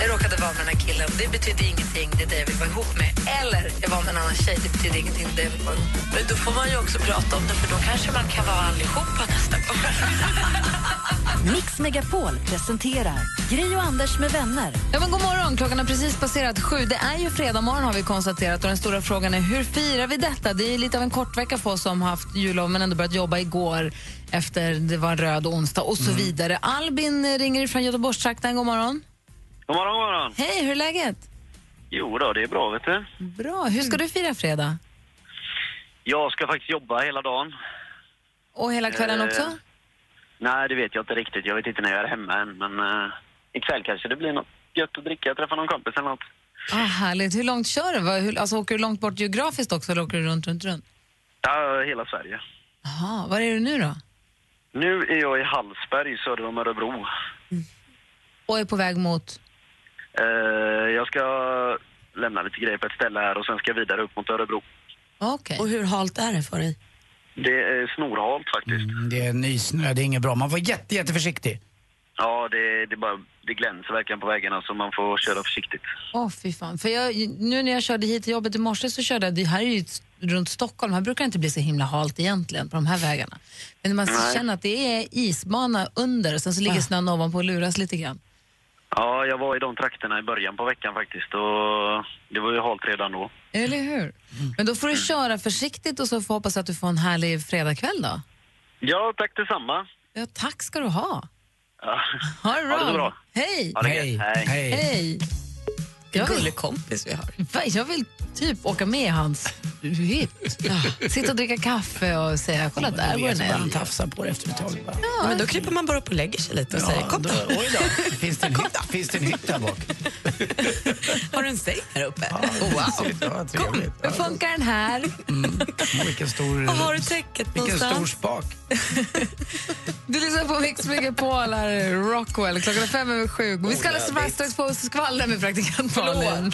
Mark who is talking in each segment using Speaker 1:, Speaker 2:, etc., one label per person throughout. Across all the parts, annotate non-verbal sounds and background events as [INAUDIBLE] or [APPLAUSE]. Speaker 1: Jag råkade vara med den här killen. Det betyder ingenting, det är det jag vill vara ihop med. Eller jag var med en annan tjej, det betyder ingenting, det är det jag vill vara ihop med. Men då får man ju också prata om det, för då kanske man kan vara allihopa nästa gång.
Speaker 2: [LAUGHS] Mix Megapol presenterar Gri och Anders med vänner.
Speaker 3: Ja, men god morgon, klockan har precis passerat sju. Det är ju fredag morgon har vi konstaterat och den stora frågan är hur firar vi detta? Det är lite av en kort vecka för oss som haft jullov men ändå börjat jobba igår efter det var en röd onsdag och
Speaker 1: Mm.
Speaker 3: så vidare. Albin ringer från Göteborgstrakten, god morgon.
Speaker 4: God morgon, god morgon.
Speaker 3: Hej, hur är läget?
Speaker 4: Jo då, det är bra vet du.
Speaker 3: Bra, hur
Speaker 5: Mm.
Speaker 3: ska du fira fredag?
Speaker 4: Jag ska faktiskt jobba hela dagen.
Speaker 3: Och hela kvällen
Speaker 4: Eh,
Speaker 3: också?
Speaker 4: Nej, det vet jag inte riktigt. Jag vet inte när jag är hemma än, men eh, ikväll kanske det blir något gött att dricka, träffa någon kompis eller något.
Speaker 3: Ah, härligt, hur långt kör du? Vad- hur- Alltså, åker du långt bort geografiskt också eller åker du runt, runt, runt?
Speaker 4: Ja, hela Sverige.
Speaker 3: Aha, var är du nu då?
Speaker 4: Nu är jag i Hallsberg söder om Örebro.
Speaker 3: Och är på väg mot?
Speaker 4: Eh, jag ska lämna lite grejer på ett ställe här och sen ska jag vidare upp mot Örebro.
Speaker 3: Okej.
Speaker 5: Och hur halt är det för dig?
Speaker 4: Det är snorhalt faktiskt.
Speaker 6: Mm, Det är nysnö, det är inget bra. Man får jätte, jätteförsiktig.
Speaker 4: Ja, det, det, bara, det glänser verkligen på vägarna så man får köra försiktigt.
Speaker 3: Åh, fy fan. För jag, nu när jag körde hit till jobbet i morse så körde jag, det här är ju s- runt Stockholm, här brukar det inte bli så himla halt egentligen på de här vägarna. Men man
Speaker 4: Nej.
Speaker 3: känner att det är isbana under och sen så
Speaker 5: Ah.
Speaker 3: ligger snön ovanpå och luras lite grann.
Speaker 4: Ja, jag var i de trakterna i början på veckan faktiskt och det var ju halt redan då.
Speaker 3: Eller hur?
Speaker 5: Mm.
Speaker 3: Men då får du köra försiktigt och så får hoppas att du får en härlig fredagkväll då.
Speaker 4: Ja, tack detsamma.
Speaker 3: Ja, tack ska du ha.
Speaker 4: Ja.
Speaker 3: Ha det bra.
Speaker 4: Ha det så bra.
Speaker 3: Hej!
Speaker 4: Ha det gött. Hej.
Speaker 3: Hej! Jag vill,
Speaker 5: Gullig kompis vi har.
Speaker 3: va, jag vill typ åka med i hans hytt. Ja, Sitta och dricka kaffe och säga kolla där var
Speaker 6: vet,
Speaker 3: en
Speaker 6: bara han
Speaker 3: älg.
Speaker 6: tafsar på det efter ett tag. Bara.
Speaker 5: Ja, men då kryper man bara upp och lägger sig lite och säger kom
Speaker 6: då,
Speaker 5: då,
Speaker 6: oj
Speaker 5: [LAUGHS]
Speaker 6: då. Finns det en hytt, finns det en hytt där bak?
Speaker 5: har du en säng här uppe?
Speaker 6: Ja,
Speaker 5: Oh, [LAUGHS] wow!
Speaker 6: precis. Ja, trevligt.
Speaker 3: Hur funkar den här?
Speaker 6: Ja, vilken stor,
Speaker 5: Och har du täcket
Speaker 6: vilken
Speaker 5: någonstans?
Speaker 6: stor spak.
Speaker 3: Du lyssnar på Mix Megapol här, i Rockwell. Klockan är fem över sju. Vi ska alldeles strax strax få skvaller med praktikant Malin.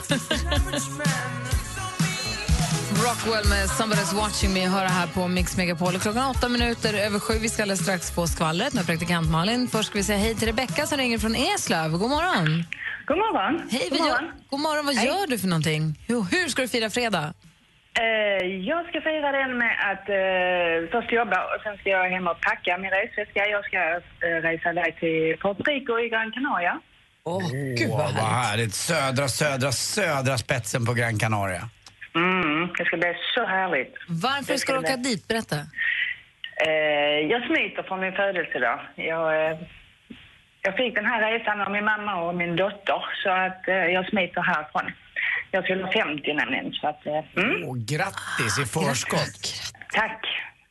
Speaker 3: Rockwell med Somebody's watching me höra här på Mix Megapol. Och Klockan åtta minuter över sju. Vi ska alldeles strax få skvallret med praktikant Malin. Först ska vi säga hej till Rebecka som ringer från Eslöv. God morgon!
Speaker 7: God morgon.
Speaker 3: Hej,
Speaker 7: God
Speaker 3: vad
Speaker 7: morgon.
Speaker 3: Gör, god morgon. Vad gör du för någonting? Hur, hur ska du fira fredag?
Speaker 7: Eh, jag ska fira den med att eh, först jobba och sen ska jag hem och packa min resväska. Jag ska eh, resa iväg till Puerto Rico i Gran Canaria.
Speaker 5: Åh, gud
Speaker 6: Åh,
Speaker 5: vad
Speaker 6: vad
Speaker 5: härligt.
Speaker 6: härligt. Södra, södra, södra spetsen på Gran Canaria.
Speaker 7: Mm, det ska bli så härligt.
Speaker 3: Varför
Speaker 7: Det
Speaker 3: ska du
Speaker 7: ska
Speaker 3: åka
Speaker 7: det.
Speaker 3: dit? Berätta.
Speaker 7: Eh, jag smiter från min födelsedag. Jag, eh, jag fick den här resan av min mamma och min dotter så att eh, jag smiter härifrån. Jag fyller 50 nämligen så att... Eh, mm,
Speaker 6: Och grattis i förskott.
Speaker 7: tack.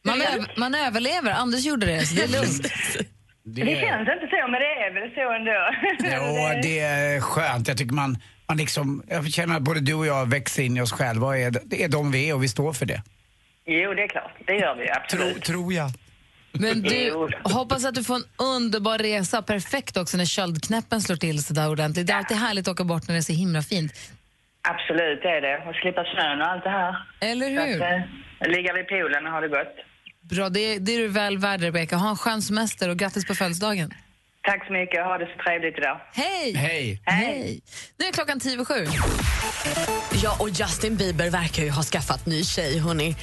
Speaker 3: Man, över, man överlever. Anders gjorde det, så det är lugnt.
Speaker 6: Det
Speaker 7: Det
Speaker 6: är,
Speaker 7: känns inte så men det är väl så ändå. [LAUGHS]
Speaker 6: ja, det är skönt. Jag tycker man, man liksom, jag känner att både du och jag växer in i oss själva och är, det är de vi är och vi står för det.
Speaker 7: Jo, det är klart. Det gör vi absolut.
Speaker 6: tror jag.
Speaker 3: Men du,
Speaker 7: Jo.
Speaker 3: hoppas att du får en underbar resa. Perfekt också när köldknäppen slår till så där ordentligt. Det är alltid härligt att åka bort när det är så himla fint.
Speaker 7: Absolut, det är det. Och slippa snön och allt det här.
Speaker 3: Eller
Speaker 7: Så att,
Speaker 3: hur?
Speaker 7: eh, ligga vid poolen och ha det gott.
Speaker 3: Bra, det, det är du väl värd, Rebecka. Ha en skön semester och grattis på födelsedagen.
Speaker 7: Tack så mycket. Ha det så trevligt idag.
Speaker 3: Hej!
Speaker 6: Hej.
Speaker 3: Hej! Nu är klockan tio och sju.
Speaker 5: Ja, och Justin Bieber verkar ju ha skaffat ny tjej. Hörrni.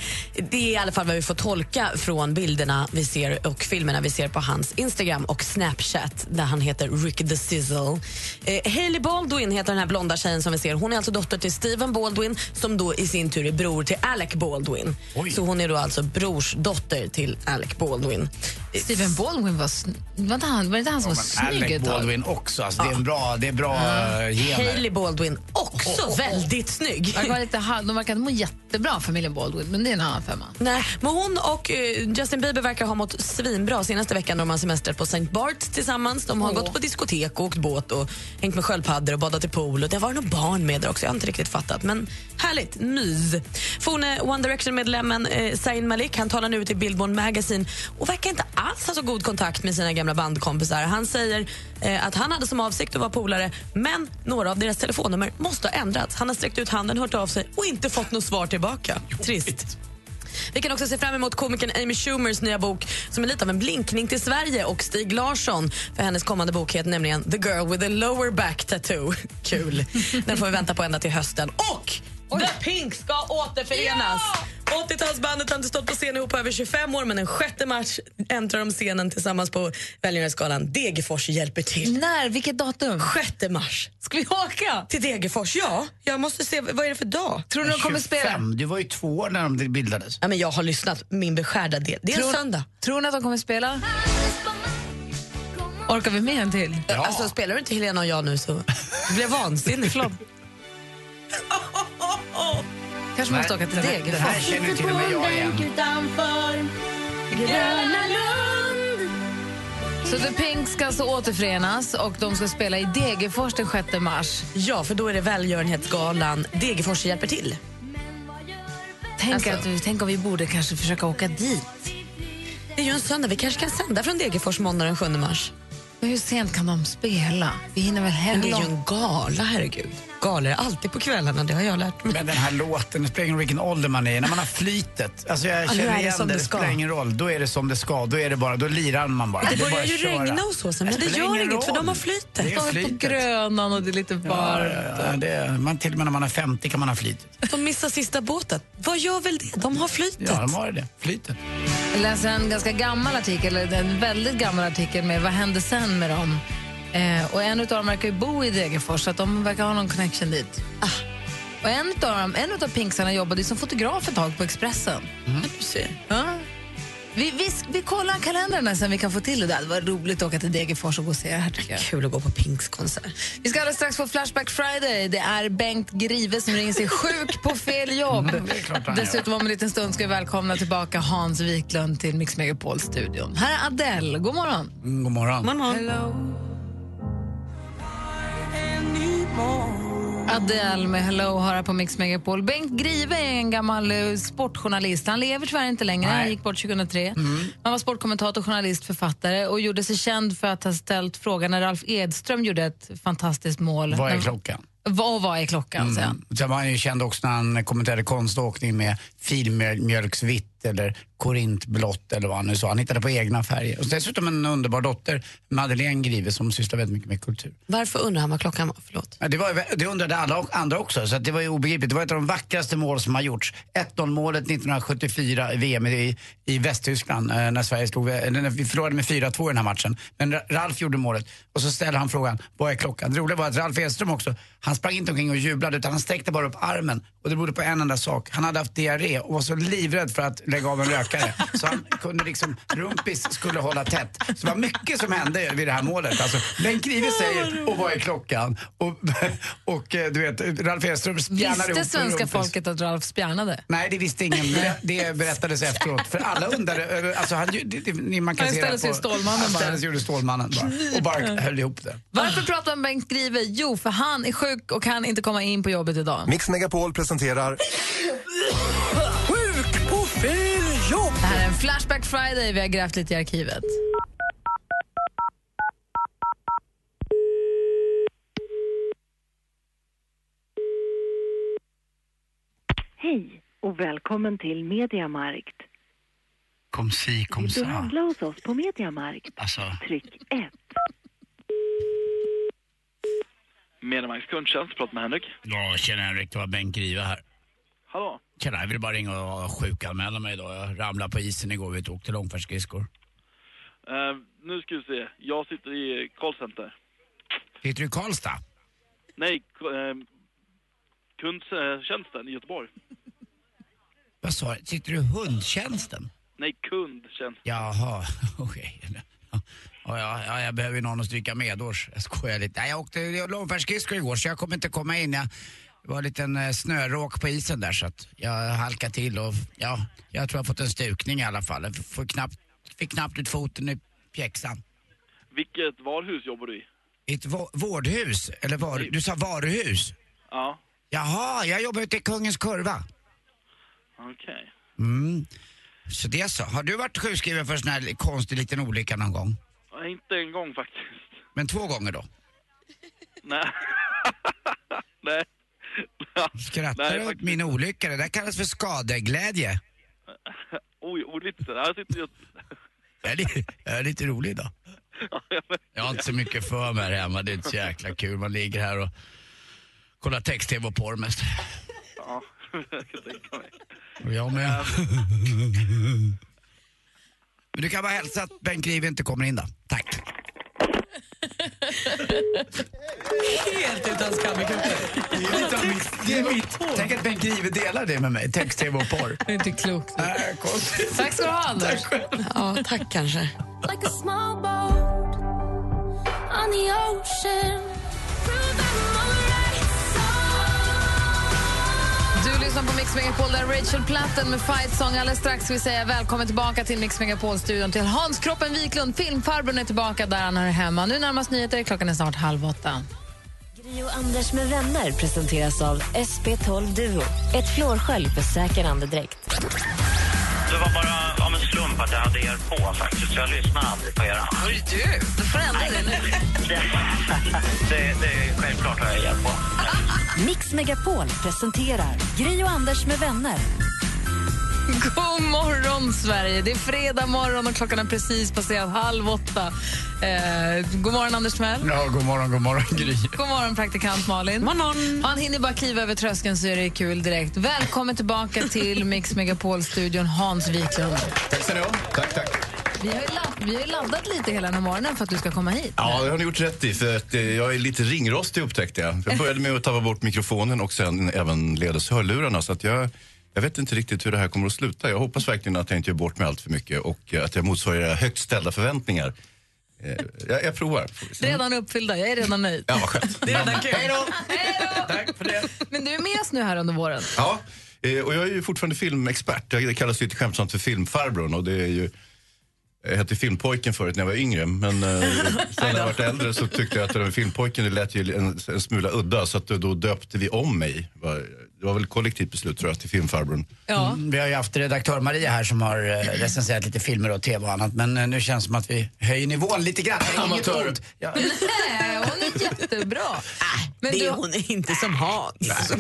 Speaker 5: Det är i alla fall vad vi får tolka från bilderna vi ser och filmerna vi ser på hans Instagram och Snapchat där han heter Rick the Sizzle. Eh, Hailey Baldwin heter den här blonda tjejen som vi ser. Hon är alltså dotter till Steven Baldwin som då i sin tur är bror till Alec Baldwin.
Speaker 6: Oj.
Speaker 5: Så hon är då alltså brorsdotter till Alec Baldwin. Eh,
Speaker 3: Steven Baldwin var... sn- Var, inte han, var det inte han som så snygg
Speaker 6: Alec
Speaker 3: ut. Harry.
Speaker 6: Baldwin också. Alltså, det är en bra, det är bra eh, gener.
Speaker 5: Hailey Baldwin, också väldigt snygg.
Speaker 3: Verkar vara lite halv- De verkar inte må jättebra, familjen Baldwin, men det är en annan femma.
Speaker 5: Nej, men hon och eh, Justin Bieber verkar ha mått svinbra senaste veckan. De har semestrat på St. Barts tillsammans. De har
Speaker 3: Åh.
Speaker 5: gått på diskotek och åkt båt och hängt med sköldpaddor och badat i pool. Och det var nog barn med där också. Jag har inte riktigt fattat, men härligt mys. Forne One Direction-medlemmen eh, Zayn Malik han talar nu till Billboard Magazine och verkar inte alls ha så god kontakt med sina gamla bandkompisar. Han säger eh, att han hade som avsikt att vara polare, men några av deras telefonnummer måste ha ändrats. Han har sträckt ut handen, hört av sig och inte fått något svar tillbaka. Trist. Vi kan också se fram emot komikern Amy Schumers nya bok som är lite av en blinkning till Sverige och Stig Larsson för hennes kommande bok heter nämligen The Girl with the Lower Back Tattoo. [LAUGHS] Kul. Den får vi vänta på ända till hösten. Och The Pink ska återförenas! 80-talsbandet har inte stått på scen ihop på över 25 år men den 6 mars äntrar de scenen tillsammans på Välgörenhetsgalan Degerfors hjälper till.
Speaker 3: När? Vilket datum?
Speaker 5: 6 mars
Speaker 3: Ska vi åka?
Speaker 5: till Degerfors. Ja, jag måste se, vad är det för dag?
Speaker 3: Tror du de kommer spela?
Speaker 6: 25. Du var ju två år när de bildades.
Speaker 5: Ja, men jag har lyssnat min beskärda del. Det är en söndag.
Speaker 3: Tror ni att de kommer spela? Orkar vi med en till?
Speaker 6: Ja.
Speaker 5: Alltså spelar du inte Helena och jag nu så du blir vansinnig. Förlåt.
Speaker 3: Kanske måste åka till
Speaker 6: den, här- den
Speaker 3: Degerfors.
Speaker 6: här känner till och med jag igen.
Speaker 3: Så The Pink ska alltså återförenas och de ska spela i Degerfors den 6 mars.
Speaker 5: Ja, för då är det välgörenhetsgalan Degerfors hjälper till.
Speaker 3: Tänk, att, tänk om vi borde kanske försöka åka dit.
Speaker 5: Det är ju en söndag, vi kanske kan sända från Degerfors måndag den 7 mars.
Speaker 3: Men hur sent kan de spela? Vi hinner väl
Speaker 5: Men det är ju
Speaker 3: heller
Speaker 5: en gala, herregud. Galor är alltid på kvällarna, det har jag lärt mig.
Speaker 6: Men den här låten, det spelar ingen roll vilken ålder man är i. När man har flytet, alltså jag
Speaker 5: då är
Speaker 6: känner
Speaker 5: det
Speaker 6: igen det,
Speaker 5: som
Speaker 6: det,
Speaker 5: det ska.
Speaker 6: spelar ingen roll. Då är det som det ska, då är det bara, då lirar man bara.
Speaker 5: Det
Speaker 6: är bara
Speaker 5: börjar ju
Speaker 6: att köra.
Speaker 5: regna och så sen, men det
Speaker 6: spelar
Speaker 5: gör
Speaker 6: ingen
Speaker 5: inget, för
Speaker 6: roll.
Speaker 5: de har flytet.
Speaker 6: Det är
Speaker 3: De är på
Speaker 6: flytet.
Speaker 3: Grönan och det är lite varmt.
Speaker 6: Ja, det är, man, till och med när man är 50 kan man ha flytet.
Speaker 5: De missar sista båten. Vad gör väl det? De har flytet.
Speaker 6: Ja, de har det. Flytet.
Speaker 3: Jag läste en ganska gammal artikel, eller en väldigt gammal artikel med vad hände sen med dem. Eh, och en av dem verkar ju bo i Degerfors, så att de verkar ha någon connection dit.
Speaker 5: Ah,
Speaker 3: Och en av dem, en utav pinksarna jobbade ju som fotograf ett tag på Expressen.
Speaker 6: Mm.
Speaker 5: Du ser.
Speaker 3: Ja. Vi, vi, vi kollar kalendern här sen vi kan få till det där. Det var roligt att åka till Degerfors och gå och se det här tycker jag.
Speaker 5: Kul att gå på Pinkskonsert.
Speaker 3: Vi ska alldeles strax få Flashback Friday. Det är Bengt Grive som ringer sig sjuk på fel jobb.
Speaker 6: Mm, är klart han gör.
Speaker 3: Dessutom om en liten stund ska vi välkomna tillbaka Hans Wiklund till Mix Megapol-studion. Här är Adele. God morgon.
Speaker 6: Mm, god morgon.
Speaker 3: Adele med Hello har här på Mix Megapol. Bengt Grive är en gammal eh, sportjournalist. Han lever tyvärr inte längre. Han
Speaker 6: Nej. Mm.
Speaker 3: gick bort 2003. Han var sportkommentator, journalist, författare och gjorde sig känd för att ha ställt frågan när Ralf Edström gjorde ett fantastiskt mål.
Speaker 6: Vad är
Speaker 3: När-
Speaker 6: klockan? Mm.
Speaker 3: Vad, och vad är klockan, säger han.
Speaker 6: Sen var han ju känd också när han kommenterade konståkning med filmjölksvitt eller korintblått eller vad han nu sa. Han hittade på egna färger. Och dessutom en underbar dotter, Madeleine Grive, som sysslar väldigt mycket med kultur.
Speaker 5: Varför undrar han vad klockan var? Förlåt.
Speaker 6: Ja, Det, var, ju- det undrade alla och andra också, så att det var ju obegripligt. Det var ett av de vackraste mål som har gjorts. 1-0-målet 1974 i VM i, i Västtyskland eh, när Sverige slog, eller när vi förlorade med 4-2 i den här matchen. Men Ra- Ralf gjorde målet och så ställde han frågan, vad är klockan? Det roliga var att Ralf Edström också, han sprang inte omkring och jublade utan han sträckte bara upp armen och det berodde på en enda sak. Han hade haft diarré och var så livrädd för att lägga av en
Speaker 3: [LAUGHS]
Speaker 6: rökare så han kunde liksom, rumpis skulle hålla tätt. Så det var mycket som hände vid det här målet. Alltså, Bengt Grive säger, och vad är klockan? Och, [LAUGHS] och eh, du vet, Ralf Edström spjärnar
Speaker 3: Visste
Speaker 6: ihop
Speaker 3: svenska
Speaker 6: rumpis.
Speaker 3: folket att Ralf spjärnade?
Speaker 6: Nej, det visste ingen. men Det berättades efteråt. För alla undrade över... Alltså, han, ju- det, det, man kan
Speaker 3: Han
Speaker 6: se det
Speaker 3: ställde sig
Speaker 6: på-
Speaker 3: i Stålmannen
Speaker 6: Han
Speaker 3: bara.
Speaker 6: ställde sig gjorde Stålmannen bara. Och bara höll ihop det.
Speaker 3: Varför pratar vi om Bengt Grive? Jo, för han är sjuk och kan inte komma in på jobbet idag.
Speaker 8: Mix Megapol presenterar
Speaker 9: Sjuk på fel jobb!
Speaker 3: Det här är en Flashback Friday. Vi har grävt lite i arkivet.
Speaker 7: Hej och välkommen till Mediamarkt.
Speaker 6: Kom si, kom
Speaker 7: Vill du handla hos oss på Mediamarkt?
Speaker 6: Alltså,
Speaker 7: Tryck 1.
Speaker 4: Medelmarks kundtjänst, prata med Henrik.
Speaker 6: ja, tjena Henrik. Det var Bengt Grive här.
Speaker 4: Hallå?
Speaker 6: Tjena, jag ville bara ringa och sjukanmäla mig idag. Jag ramlade på isen igår. Vi åkte långfärdsskridskor.
Speaker 4: Eh, nu ska vi se, jag sitter i callcenter.
Speaker 6: Sitter du i Karlstad?
Speaker 4: Nej, k- eh, kundtjänsten i Göteborg.
Speaker 6: Vad sa du? Sitter du i hundtjänsten? [LAUGHS]
Speaker 4: Nej, kundtjänst.
Speaker 6: Jaha, okej. Ja, Ja, ja, ja, jag behöver ju någon att stryka medhårs. Jag skojar lite. Nej, jag åkte långfärdsskridskor igår så jag kom inte komma in. Jag, det var en liten eh, snöråk på isen där så att jag halkade till och ja, jag tror jag har fått en stukning i alla fall. Jag får knappt, fick knappt ut foten i pjäxan.
Speaker 8: Vilket varhus jobbar du i?
Speaker 6: I ett va- vårdhus, eller var, du sa varuhus?
Speaker 8: Ja,
Speaker 6: Jaha, jag jobbar ute i Kungens Kurva.
Speaker 8: okej.
Speaker 6: Mm. Så det så. Har du varit sjukskriven för en sån här konstig liten olycka någon gång?
Speaker 8: Nej, Inte en gång faktiskt. [LAUGHS]
Speaker 6: Men två gånger då?
Speaker 8: Nej. [LAUGHS] Nej.
Speaker 6: Skrattar du åt min olycka? Det där kallas för skadeglädje.
Speaker 8: Oj, ordvitsen. Här sitter jag... [LAUGHS]
Speaker 6: Jag är li- [LAUGHS] jag är lite rolig idag. Jag har inte så mycket för mig här hemma. Det är inte så jäkla kul. Man ligger här och kollar text-tv och porr mest.
Speaker 8: Ja, jag kan tänka mig.
Speaker 6: Och jag med. [LAUGHS] Men du kan bara hälsa att Bengt Grive inte kommer in då. Tack.
Speaker 9: Helt utan skam i kroppen.
Speaker 6: Det är lite av mitt. Det är mitt. Tänk att Bengt Grive delar det med mig. Text-tv och porr.
Speaker 10: [LAUGHS]
Speaker 3: Det är inte klokt.
Speaker 6: Äh, konstigt.
Speaker 3: Tack ska du ha, Anders.
Speaker 5: Ja, tack kanske.
Speaker 3: Du lyssnar på Mix Megapol, där Rachel Platten med Fight Song. Alldeles strax ska vi säga välkommen tillbaka till Mix Megapol-studion till Hans Kroppen Wiklund. Filmfarbrorn är tillbaka där han hör hemma. Nu närmast nyheter, klockan är snart halv åtta.
Speaker 2: Gri och Anders med vänner presenteras av SP12 Duo. Ett flårskölj för säker andedräkt.
Speaker 4: Det var bara av en slump att jag hade er på faktiskt, så jag lyssnade aldrig på er.
Speaker 3: Hörru du, du får ändra dig nu.
Speaker 4: Det, det, självklart har jag er på.
Speaker 2: Mix Megapol presenterar Gri och Anders med vänner.
Speaker 3: God morgon, Sverige! Det är fredag morgon och klockan är precis passerat halv åtta. Eh, god morgon, Anders Timell.
Speaker 6: Ja, god morgon, god morgon Gry.
Speaker 3: God morgon, praktikant Malin.
Speaker 9: Morgon.
Speaker 3: Han hinner bara kliva över tröskeln så är det kul direkt. Välkommen tillbaka till Mix Megapol-studion, Hans Wiklund.
Speaker 10: Tack ska ni ha. Tack, tack.
Speaker 3: Vi har, ju ladd, vi har ju laddat lite hela den här morgonen för att du ska komma hit.
Speaker 10: Ja, det har ni gjort rätt i. För att eh, jag är lite ringrostig upptäckte jag. Jag började med att tappa bort mikrofonen och sen även ledes hörlurarna. Så att jag, jag vet inte riktigt hur det här kommer att sluta. Jag hoppas verkligen att jag inte gör bort mig allt för mycket och eh, att jag motsvarar era högt ställda förväntningar. Eh, Jag, jag provar. Får vi se.
Speaker 3: Redan uppfyllda, jag är redan nöjd.
Speaker 10: Mm. Ja,
Speaker 3: [LAUGHS]
Speaker 10: vad skönt.
Speaker 9: Det är redan kul.
Speaker 6: Tack för det.
Speaker 3: Men du är med oss nu här under våren.
Speaker 10: Ja, eh, och jag är ju fortfarande filmexpert. Jag kallas ju lite skämtsamt för filmfarbrorn och det är ju jag hette Filmpojken förut när jag var yngre, men eh, sen när jag varit äldre så tyckte jag att det där med Filmpojken det lät ju en, en smula udda så att då döpte vi om mig. Det var- Det var väl kollektivt beslut tror jag, till Filmfarbrorn.
Speaker 3: Ja.
Speaker 6: Mm, Vi har ju haft redaktör Maria här som har eh, recenserat lite filmer och tv och annat. Men eh, nu känns det som att vi höjer nivån lite grann. Inget
Speaker 10: Amatör.
Speaker 6: ont. Ja.
Speaker 3: Nej, hon är jättebra. Men
Speaker 5: det
Speaker 3: du,
Speaker 5: är hon inte som Hans.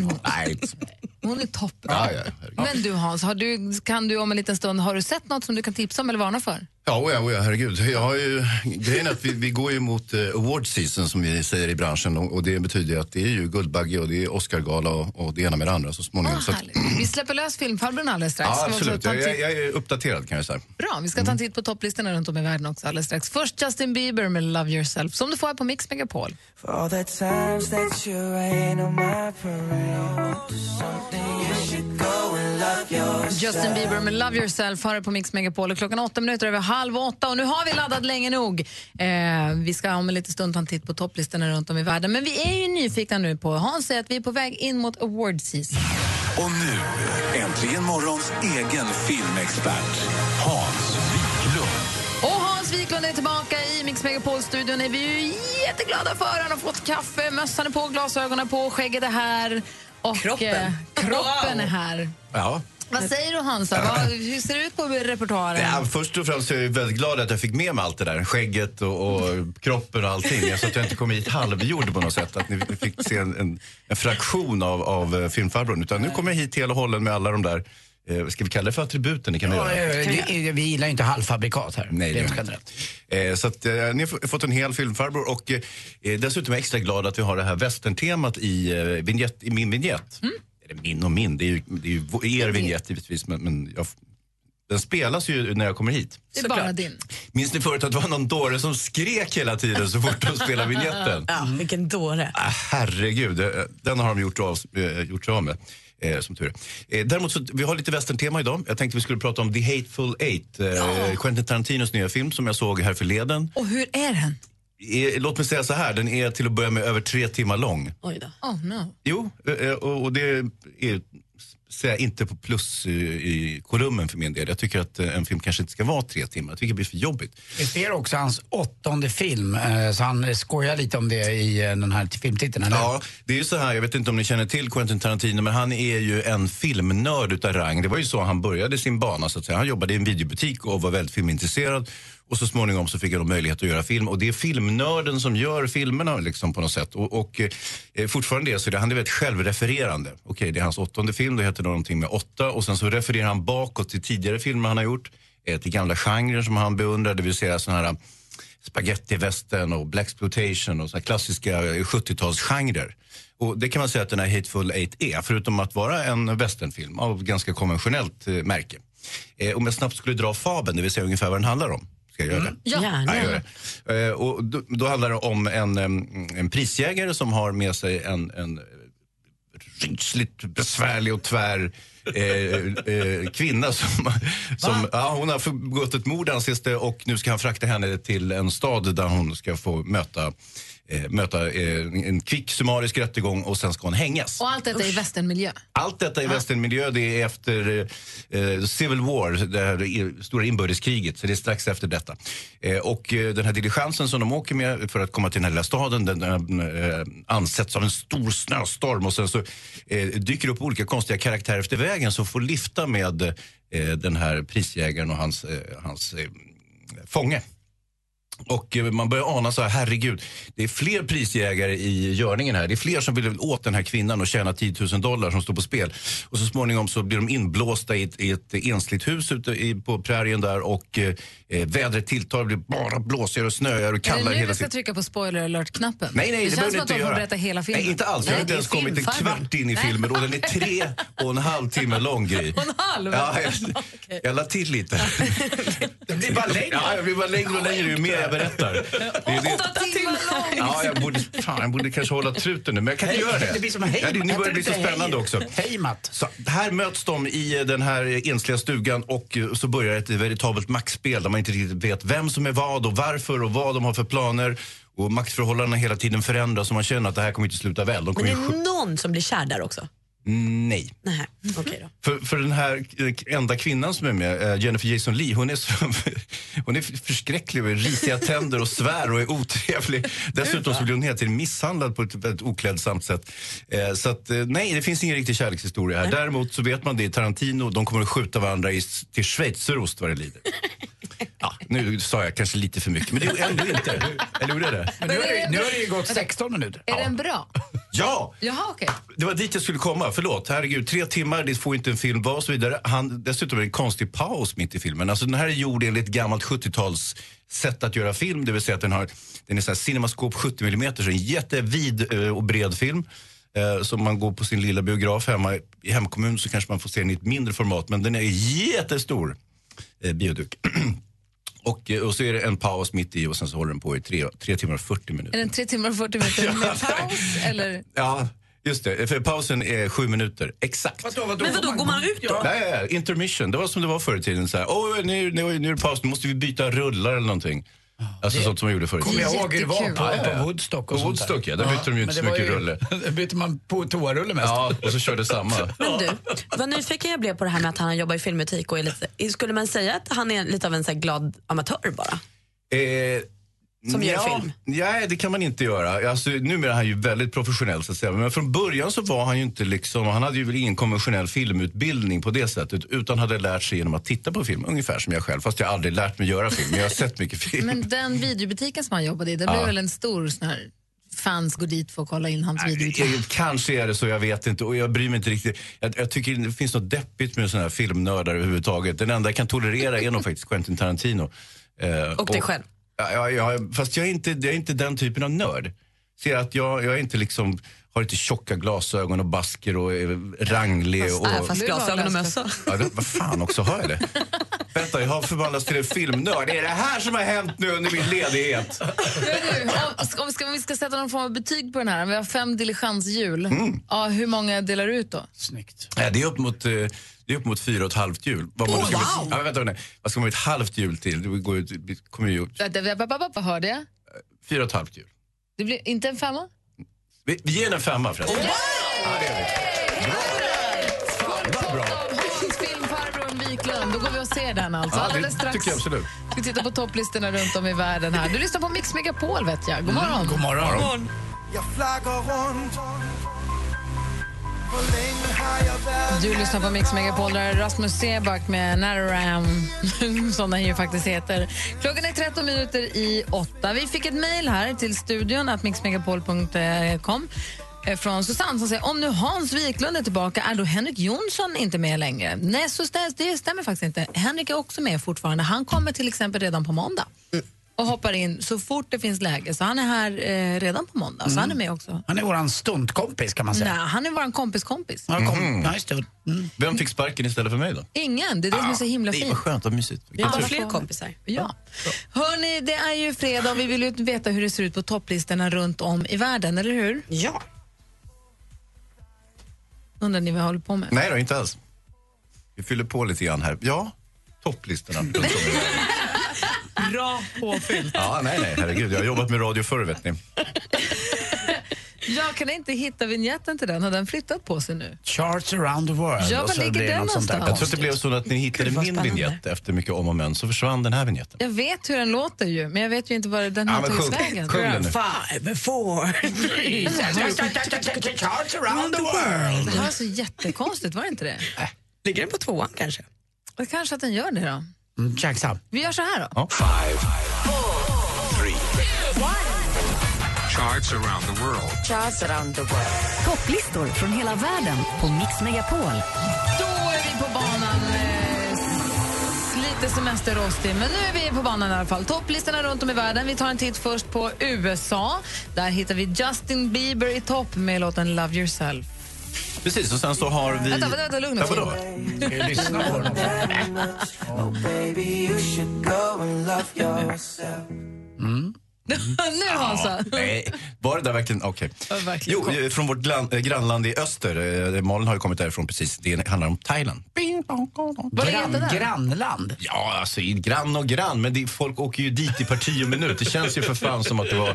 Speaker 3: hon är toppen.
Speaker 10: Ja, ja, herregud.
Speaker 3: Men du Hans, har du, kan du om en liten stund, har du sett något som du kan tipsa om eller varna för?
Speaker 10: Ja, oja, oja, herregud. Jag har ju, grejen är att vi, vi går ju mot eh, award season som vi säger i branschen och, och det betyder ju att det är ju Guldbagge och det är Oscargala och, och det ena med det andra så småningom.
Speaker 3: Vad
Speaker 10: så att,
Speaker 3: härligt. Vi släpper lös filmfarbrorn alldeles strax.
Speaker 10: ja,
Speaker 3: Ska vi också
Speaker 10: absolut.
Speaker 3: ta en
Speaker 10: Jag,
Speaker 3: titt-
Speaker 10: jag, Mm. jag är uppdaterad kan jag säga.
Speaker 3: Bra, vi ska ta en titt på topplistorna runt om i världen också alldeles strax. Först Justin Bieber med Love Yourself som du får här på Mix Megapol. Justin Bieber med Love Yourself har det på Mix Megapol och klockan åtta minuter över halv åtta och nu har vi laddat länge nog. Eh, vi ska om en liten stund ta en titt på topplistorna runt om i världen men vi är ju nyfikna nu på, Hans säger att vi är på väg in mot award season.
Speaker 11: Och nu, äntligen morgons egen filmexpert, Hans Wiklund.
Speaker 3: Och Hans Wiklund är tillbaka i Mix Megapol-studion. är vi ju jätteglada för. Han har fått kaffe, mössan är på, glasögonen på, skägget är här. Och
Speaker 5: Kroppen.
Speaker 3: eh, kroppen är här.
Speaker 10: Ja.
Speaker 3: Vad säger du Hansa? Vad, hur ser det ut på repertoaren?
Speaker 10: Ja, först och främst är jag ju väldigt glad att jag fick med mig allt det där. Skägget och, och kroppen och allting. Så att jag inte kom hit halvgjord på något sätt. Att ni fick se en, en, en fraktion av, av eh, filmfarbrorn. Utan nu kommer jag hit hel och hållen med alla de där, eh, ska vi kalla det för attributen? Det kan vi
Speaker 6: Ja,
Speaker 10: göra.
Speaker 6: eh, det- Vi gillar ju inte halvfabrikat här.
Speaker 10: Nej, det
Speaker 6: rent
Speaker 10: gör jag
Speaker 6: generellt.
Speaker 10: inte. Eh, så att, eh, ni har f- fått en hel filmfarbror och eh, dessutom är jag extra glad att vi har det här västerntemat i, eh, vignett, i min vignett.
Speaker 3: Mm.
Speaker 10: Eller min och min, det är ju, det är ju v- er vignett givetvis men, men jag, f- den spelas ju när jag kommer hit.
Speaker 3: det är bara din.
Speaker 10: Minns ni förut att det var någon dåre som skrek hela tiden så fort de spelade vignetten?
Speaker 5: Ja, vilken dåre.
Speaker 10: Äh. Ah, herregud, eh, den har de gjort, av, eh, gjort sig av med. Eh, som tur är. eh, Däremot så, vi har lite västerntema idag. Jag tänkte vi skulle prata om The Hateful Eight. Eh, Quentin Tarantinos nya film som jag såg här förleden.
Speaker 3: Och hur är den?
Speaker 10: Eh, låt mig säga så här, den är till att börja med över tre timmar lång.
Speaker 5: Oj då.
Speaker 3: Oh no.
Speaker 10: Jo, eh, eh, och och det är säger jag, inte på plus i, i kolumnen för min del. Jag tycker att eh, en film kanske inte ska vara tre timmar. Jag tycker det blir för jobbigt.
Speaker 6: Vi ser också hans åttonde film, eh, så han skojar lite om det i eh, den här t- filmtiteln. eller?
Speaker 10: Ja, det är ju så här, jag vet inte om ni känner till Quentin Tarantino, men han är ju en filmnörd utav rang. Det var ju så han började sin bana så att säga. Han jobbade i en videobutik och var väldigt filmintresserad. Och så småningom så fick han då möjlighet att göra film. Och det är filmnörden som gör filmerna liksom på något sätt. Och, och eh, fortfarande är så det, han är väldigt självrefererande. Okej, det är hans åttonde film, det heter någonting med åtta. Och sen så refererar han bakåt till tidigare filmer han har gjort. Eh, till gamla genrer som han beundrar, det vill säga sådana här spagettivästern och blaxploitation och så här klassiska eh, 70-talsgenrer. Och det kan man säga att den här Hateful Eight är, förutom att vara en westernfilm av ganska konventionellt eh, märke. Eh, om jag snabbt skulle dra fabeln, det vill säga ungefär vad den handlar om. Ska jag göra
Speaker 3: Mm.
Speaker 10: det?
Speaker 5: Ja. Gärna.
Speaker 10: Mm. jag gör det. Eh, och då, då handlar det om en, em, en prisjägare som har med sig en, en rysligt besvärlig och tvär eh, eh, kvinna som, som ja, hon har begått ett mord anses det och nu ska han frakta henne till en stad där hon ska få möta, eh, möta eh, en kvick summarisk rättegång och sen ska hon hängas.
Speaker 3: Och allt detta i västernmiljö.
Speaker 10: Allt detta i västernmiljö, det är efter eh, Civil War, det här i- stora inbördeskriget, så det är strax efter detta. Eh, och eh, den här diligensen som de åker med för att komma till den här lilla staden, den, den eh, ansätts av en stor snöstorm och sen så eh, dyker det upp olika konstiga karaktärer efter vägen som får lifta med eh, den här prisjägaren och hans, eh, hans eh, fånge. Och eh, man börjar ana så här, herregud, det är fler prisjägare i görningen här. Det är fler som vill åt den här kvinnan och tjäna 10 000 dollar som står på spel. Och så småningom så blir de inblåsta i ett, i ett ensligt hus ute i, på prärien där och eh, eh, vädret tilltar, det blir bara blåsigare och snöigare och
Speaker 3: Är det
Speaker 10: kallare
Speaker 3: nu
Speaker 10: hela
Speaker 3: vi ska
Speaker 10: tiden.
Speaker 3: trycka på spoiler alert-knappen?
Speaker 10: Nej, nej, det, behöver
Speaker 3: det känns
Speaker 10: du
Speaker 3: som att
Speaker 10: inte
Speaker 3: de får
Speaker 10: göra.
Speaker 3: berätta hela filmen.
Speaker 10: Nej, inte alls. Jag har
Speaker 3: Nej,
Speaker 10: inte
Speaker 3: det är
Speaker 10: ens kommit en
Speaker 3: filmfarbror.
Speaker 10: kvart in i
Speaker 3: Nej.
Speaker 10: filmen och den är tre och en halv timme lång, Gry.
Speaker 3: Och [LAUGHS] en halv?
Speaker 10: Ja,
Speaker 3: [LAUGHS]
Speaker 10: jag, jag la till lite. det blir bara längre. Ja, jag blir bara längre och längre ju mer jag berättar. Det är det.
Speaker 3: timmar lång!
Speaker 10: Ja, jag borde, fan, jag borde kanske hålla truten nu, men jag kan inte
Speaker 6: Hej,
Speaker 10: göra det.
Speaker 6: det blir som hej.
Speaker 10: ja, det, nu
Speaker 6: Heter
Speaker 10: börjar
Speaker 6: det
Speaker 10: det bli så
Speaker 6: inte hej?
Speaker 10: spännande också.
Speaker 6: Hejmat.
Speaker 10: Så här möts de i eh, den här ensliga stugan och eh, så börjar ett veritabelt maktspel där man inte riktigt vet vem som är vad och varför och vad de har för planer. Och maktförhållandena hela tiden förändras och man känner att det här kommer inte sluta väl. De
Speaker 5: Men
Speaker 10: kommer
Speaker 5: det
Speaker 10: ju skj-
Speaker 5: är någon som blir kär där också?
Speaker 10: Nej.
Speaker 5: Nej, okej då.
Speaker 10: För, för den här eh, enda kvinnan som är med, eh, Jennifer Jason Lee, hon är, så, [LAUGHS] hon är förskräcklig med risiga tänder och svär och är otrevlig. Dessutom så blir hon hela tiden misshandlad på ett väldigt oklädsamt sätt. Eh, Så att, eh, nej, det finns ingen riktig kärlekshistoria här. Däremot så vet man det i Tarantino, de kommer att skjuta varandra i, till schweizerost vad det lider. Ja, nu sa jag kanske lite för mycket, men det gjorde jag ändå inte. Eller gjorde jag det?
Speaker 6: Men nu har det, nu har det ju gått 16 minuter.
Speaker 3: Är den bra?
Speaker 10: [LAUGHS] Ja!
Speaker 3: Jaha, okej.
Speaker 10: Det var dit jag skulle komma, förlåt. Herregud, tre timmar, det får inte en film vara och så vidare. Han, dessutom är det en konstig paus mitt i filmen. Alltså den här är gjord enligt gammalt 70-tals sätt att göra film, det vill säga att den, har, den är så här Cinemascope 70 mm, så en jättevid eh, och bred film. Eh, Så om man går på sin lilla biograf hemma i hemkommun så kanske man får se den i ett mindre format, men den är jättestor, eh, bioduk. [CLEARS THROAT] och, eh, och så är det en paus mitt i och sen så håller den på i tre, tre timmar och 40 minuter.
Speaker 3: Är den tre timmar och 40
Speaker 10: [LAUGHS]
Speaker 3: minuter med paus? Eller?
Speaker 10: Ja, just det. För pausen är sju minuter. Exakt. Vadå, vadå?
Speaker 5: Men vadå, går man ut då?
Speaker 10: Nej, nej, nej, intermission. Det var som det var förr i tiden. Så här, oh, nu, nu, nu är det paus, nu måste vi byta rullar eller någonting. Alltså sånt som man gjorde förr i
Speaker 6: Kommer jag ihåg hur det var på,
Speaker 10: Ja, ja, ja.
Speaker 6: på Woodstock? Och
Speaker 10: På
Speaker 6: sånt
Speaker 10: Woodstock, ja. Där bytte de ju inte så
Speaker 6: men [LAUGHS] det var
Speaker 10: mycket
Speaker 6: ju-
Speaker 10: rulle.
Speaker 6: Där bytte man på toarulle mest.
Speaker 10: Ja, och så körde samma.
Speaker 5: Men du, vad nyfiken jag blev på det här med att han jobbar i filmbutik och är lite... Skulle man säga att han är lite av en så här glad amatör bara?
Speaker 10: Eh,
Speaker 5: Som gör
Speaker 10: ja,
Speaker 5: film.
Speaker 10: Nej, det kan man inte göra. Alltså, numera är han ju väldigt professionell. Så att säga. Men från början så var han ju inte liksom, han hade ju väl ingen konventionell filmutbildning på det sättet. Utan hade lärt sig genom att titta på film, ungefär som jag själv. Fast jag har aldrig lärt mig göra film, men jag har sett mycket film.
Speaker 3: Men den videobutiken som han jobbade i, det
Speaker 10: Ja.
Speaker 3: blev väl en stor sån här fans går dit för att kolla in hans videobutik.
Speaker 10: Eh, Kanske är det så, [LAUGHS] jag vet inte. Och jag bryr mig inte riktigt. Jag, jag tycker det finns något deppigt med såna här filmnördar överhuvudtaget. Den enda jag kan tolerera är nog faktiskt Quentin Tarantino. Eh,
Speaker 5: Och dig själv.
Speaker 10: Ja, ja, ja, fast jag är, inte, jag är inte den typen av nörd. Ser att jag, jag är inte liksom, har inte tjocka glasögon och basker och är ranglig. Och,
Speaker 5: Fast, fast glasögon och mössa.
Speaker 10: Ja, det, vad fan också har jag det? Vänta, jag har förvandlats till en filmnörd. Det är det här som har hänt nu under min ledighet.
Speaker 3: Du, om, om, vi ska, om vi ska sätta någon form av betyg på den här, om vi har fem diligenshjul,
Speaker 10: Mm.
Speaker 3: ja, hur många delar du ut då?
Speaker 10: Nej, det är upp mot... eh, Det är upp mot fyra och ett halvt jul. Vad man nu ska
Speaker 3: wow!
Speaker 10: med, ja, men vänta, nej. Vad ska man med ett halvt jul till? Det går ju, det kommer ju
Speaker 3: Vänta, vänta, vänta, vänta, Hörde jag?
Speaker 10: fyra och ett halvt jul.
Speaker 3: Det blir inte en femma?
Speaker 10: Vi, vi ger den en femma förresten.
Speaker 3: Hans filmfarbrorn Wiklund, då går vi och ser den alltså.
Speaker 10: Ja,
Speaker 3: Alldeles
Speaker 10: det
Speaker 3: strax
Speaker 10: tycker jag absolut.
Speaker 3: ska vi titta på topplistorna runt om i världen här. Du lyssnar på Mix Megapol vet jag. God morgon.
Speaker 6: Mm, god morgon. God morgon.
Speaker 12: Jag flaggar runt
Speaker 3: Du lyssnar på Mix Megapol, där är Rasmus Seback med Naram, [LAUGHS] som den ju faktiskt heter. Klockan är 13 minuter i åtta. Vi fick ett mejl här till studion, att mixmegapol.com eh, från Susanne som säger om nu Hans Wiklund är tillbaka, är då Henrik Jonsson inte med längre? Nej, så stä- det stämmer faktiskt inte. Henrik är också med fortfarande. Han kommer till exempel redan på måndag och hoppar in så fort det finns läge. Så han är här eh, redan på måndag, så han är med också.
Speaker 6: Han är våran stuntkompis kan man
Speaker 3: Nej,
Speaker 6: säga.
Speaker 3: han är vår kompis kompis.
Speaker 6: Ja, kom.
Speaker 10: Mhm.
Speaker 6: Ja, just mm, det.
Speaker 10: Vem fick sparken istället för mig då?
Speaker 3: Ingen, det är det som är så himla
Speaker 10: det
Speaker 3: fint.
Speaker 10: var skönt och mysigt.
Speaker 3: Vi har fler kompisar. Ja. Hörni, det är ju fredag och vi vill ju veta hur det ser ut på topplistorna runt om i världen, eller hur? Ja. Undrar ni vad jag håller på med?
Speaker 10: Nej då, inte alls. Vi fyller på lite grann här. Ja, topplistorna. runt om i världen.
Speaker 3: Bra påfyllt.
Speaker 10: Ja, nej, nej, herregud. Jag har jobbat med radio förr, vet ni.
Speaker 3: Jag kan inte hitta vignetten till den. Har den flyttat på sig nu?
Speaker 6: Charts around the world.
Speaker 3: Ja, var
Speaker 6: Och så
Speaker 3: ligger
Speaker 6: blir det
Speaker 3: den
Speaker 6: något sånt där
Speaker 3: någonstans?
Speaker 10: Jag tror att det
Speaker 6: konstigt.
Speaker 10: blev så att ni hittade
Speaker 6: Gud, vad
Speaker 10: min
Speaker 6: spännande.
Speaker 10: vignett efter mycket om och men, så försvann den här vignetten.
Speaker 3: Jag vet hur den låter ju, men jag vet ju inte var den
Speaker 10: Ja,
Speaker 3: har
Speaker 10: men
Speaker 3: tagit
Speaker 10: sjung-
Speaker 3: vägen.
Speaker 10: sjung den nu.
Speaker 3: Five, four,
Speaker 6: three, two. Charts around the
Speaker 3: Det
Speaker 6: world.
Speaker 3: här var så jättekonstigt, var det inte det?
Speaker 6: Ligger den på tvåan kanske?
Speaker 3: Det kanske att den gör det då.
Speaker 6: Mm, Chaxa.
Speaker 3: Vi gör så här då.
Speaker 11: Five, three, charts around the world.
Speaker 2: Topplistor från hela världen på Mix Megapol.
Speaker 3: Då är vi på banan. eh, s- Lite semesterrostig, men nu är vi på banan i alla fall. Topplistorna runt om i världen. Vi tar en titt först på USA. Där hittar vi Justin Bieber i topp med låten Love yourself.
Speaker 10: Precis, och sen så har vi...
Speaker 3: Vänta, vänta, vänta, lugna
Speaker 10: Ja, vadå? Mm.
Speaker 3: [LAUGHS] nu Hansa!
Speaker 10: Nej, var det där verkligen... Okej.
Speaker 3: verkligen.
Speaker 10: Jo, eh, från vårt glan, eh, grannland i öster. Eh, Malin har ju kommit därifrån precis. Det handlar om Thailand.
Speaker 3: Vad heter den?
Speaker 6: grannland?
Speaker 10: Ja, alltså i grann och grann. Men det, folk åker ju dit i par tio minut. Det känns ju för fan som att det, var,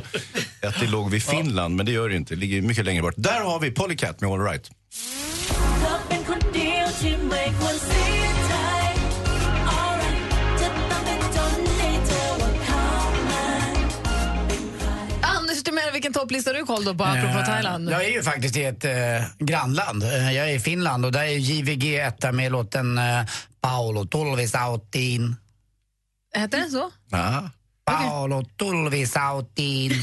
Speaker 10: att det låg vid Finland, men det gör det ju inte. Det ligger mycket längre bort. Där har vi Polycat med All Right.
Speaker 13: เธอเป็นคนเดียวที่ไม่ควรเสียใจ Alright จะต้องเป็นจนให้เธอว่าเขานั้น
Speaker 10: eh,
Speaker 3: Anders, du menar vilken topplista du koll då på, apropå
Speaker 6: Eh,
Speaker 3: Thailand?
Speaker 6: Jag är ju faktiskt i ett eh, grannland. Eh, jag är i Finland och där är JVG etta med låten eh, Paolo Tulvisautin.
Speaker 3: Heter den så?
Speaker 10: Ah.
Speaker 6: Paolo [LAUGHS] Tulvisautin.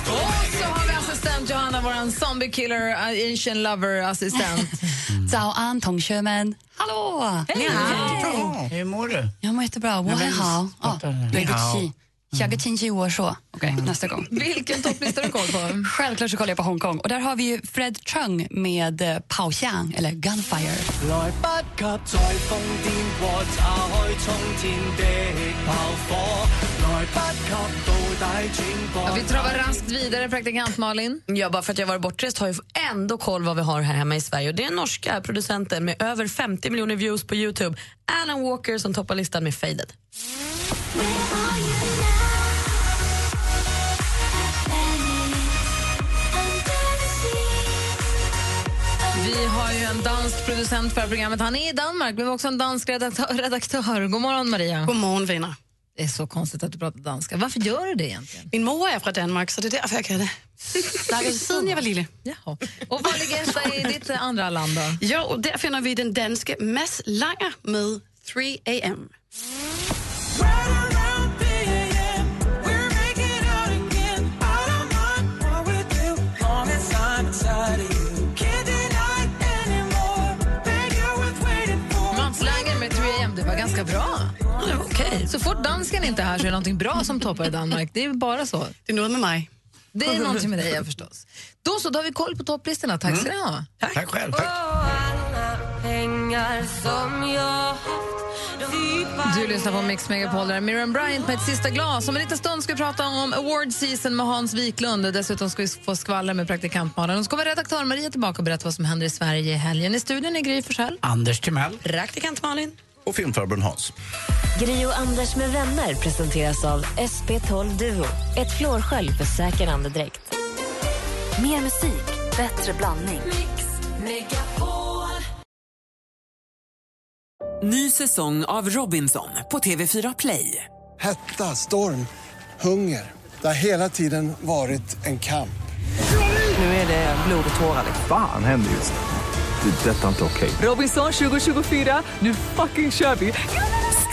Speaker 3: Och så har vi assistent Johanna, våran zombie killer, eh, Asian
Speaker 10: [LAUGHS]
Speaker 3: lover-assistent.
Speaker 14: Zao An, Tong Sjöman. Hallå!
Speaker 3: Hej!
Speaker 6: Hej. Hur mår du?
Speaker 14: Jag mår jättebra. Wo hai hao. Ah, Ja,
Speaker 6: Ni hao.
Speaker 14: Weibuxi. Tjaga Tinchi Wo Shuo. Okej, nästa gång.
Speaker 3: Vilken topplista har du koll på?
Speaker 14: Självklart så kollar jag på Hongkong. Och där har vi ju Fred Chung med eh, Pao Xiang, eller Gunfire.
Speaker 12: 來不及再瘋癲過，炸開衝天的炮火。來不及到底轉過。
Speaker 3: Ja, vi travar raskt vidare, praktikant Malin.
Speaker 5: Ja, bara för att jag var bortrest har jag ändå koll vad vi har här hemma i Sverige. Och det är den norska producenten med över 50 miljoner views på Youtube, Alan Walker, som toppar listan med Faded.
Speaker 3: Vi har ju en dansk producent för programmet. Han är i Danmark, men vi har också en dansk redaktör. redaktör. God morgon, Maria.
Speaker 15: God morgon, Vina.
Speaker 3: Det är så konstigt att du pratar danska. Varför gör du det egentligen?
Speaker 15: Min mor är från Danmark, så det är därför jag kan det. Snackade sedan jag var lille.
Speaker 3: Jaha. Och var ligger Sverige i ditt andra land då?
Speaker 15: Jo, och där finner vi den danske Mads Langer med 3 AM.
Speaker 3: Mats Langer med 3AM, det var ganska bra. Okej. Så fort dansken inte är här så är det någonting bra som toppar i Danmark. Det är ju bara så.
Speaker 15: Det är något med mig.
Speaker 3: Det är någonting med dig ja, förstås. Då så, då har vi koll på topplistorna. Tack ska ni ha.
Speaker 6: Tack själv.
Speaker 3: Du lyssnar på Mix Megapol, där Miriam Bryant med ett sista glas. Om en liten stund ska vi prata om award season med Hans Wiklund. Dessutom ska vi få skvaller med praktikant Malin. Och så kommer redaktör Maria tillbaka och berätta vad som händer i Sverige i helgen. I studion är Gry Forssell.
Speaker 6: Anders Timell.
Speaker 5: Praktikant Malin.
Speaker 10: Och filmfarbrorn Hans.
Speaker 2: Gri och Anders med vänner presenteras av SP12 Duo. Ett flårskölj för säker andedräkt.
Speaker 16: Mer musik, bättre blandning.
Speaker 9: Ny säsong av Robinson på TV4 Play.
Speaker 17: Hetta, storm, hunger. Det har hela tiden varit en kamp.
Speaker 9: Nu är det blod och tårar. liksom.
Speaker 18: Fan händer just det. Det är detta inte okej.
Speaker 9: Robinson 2024, nu fucking kör vi!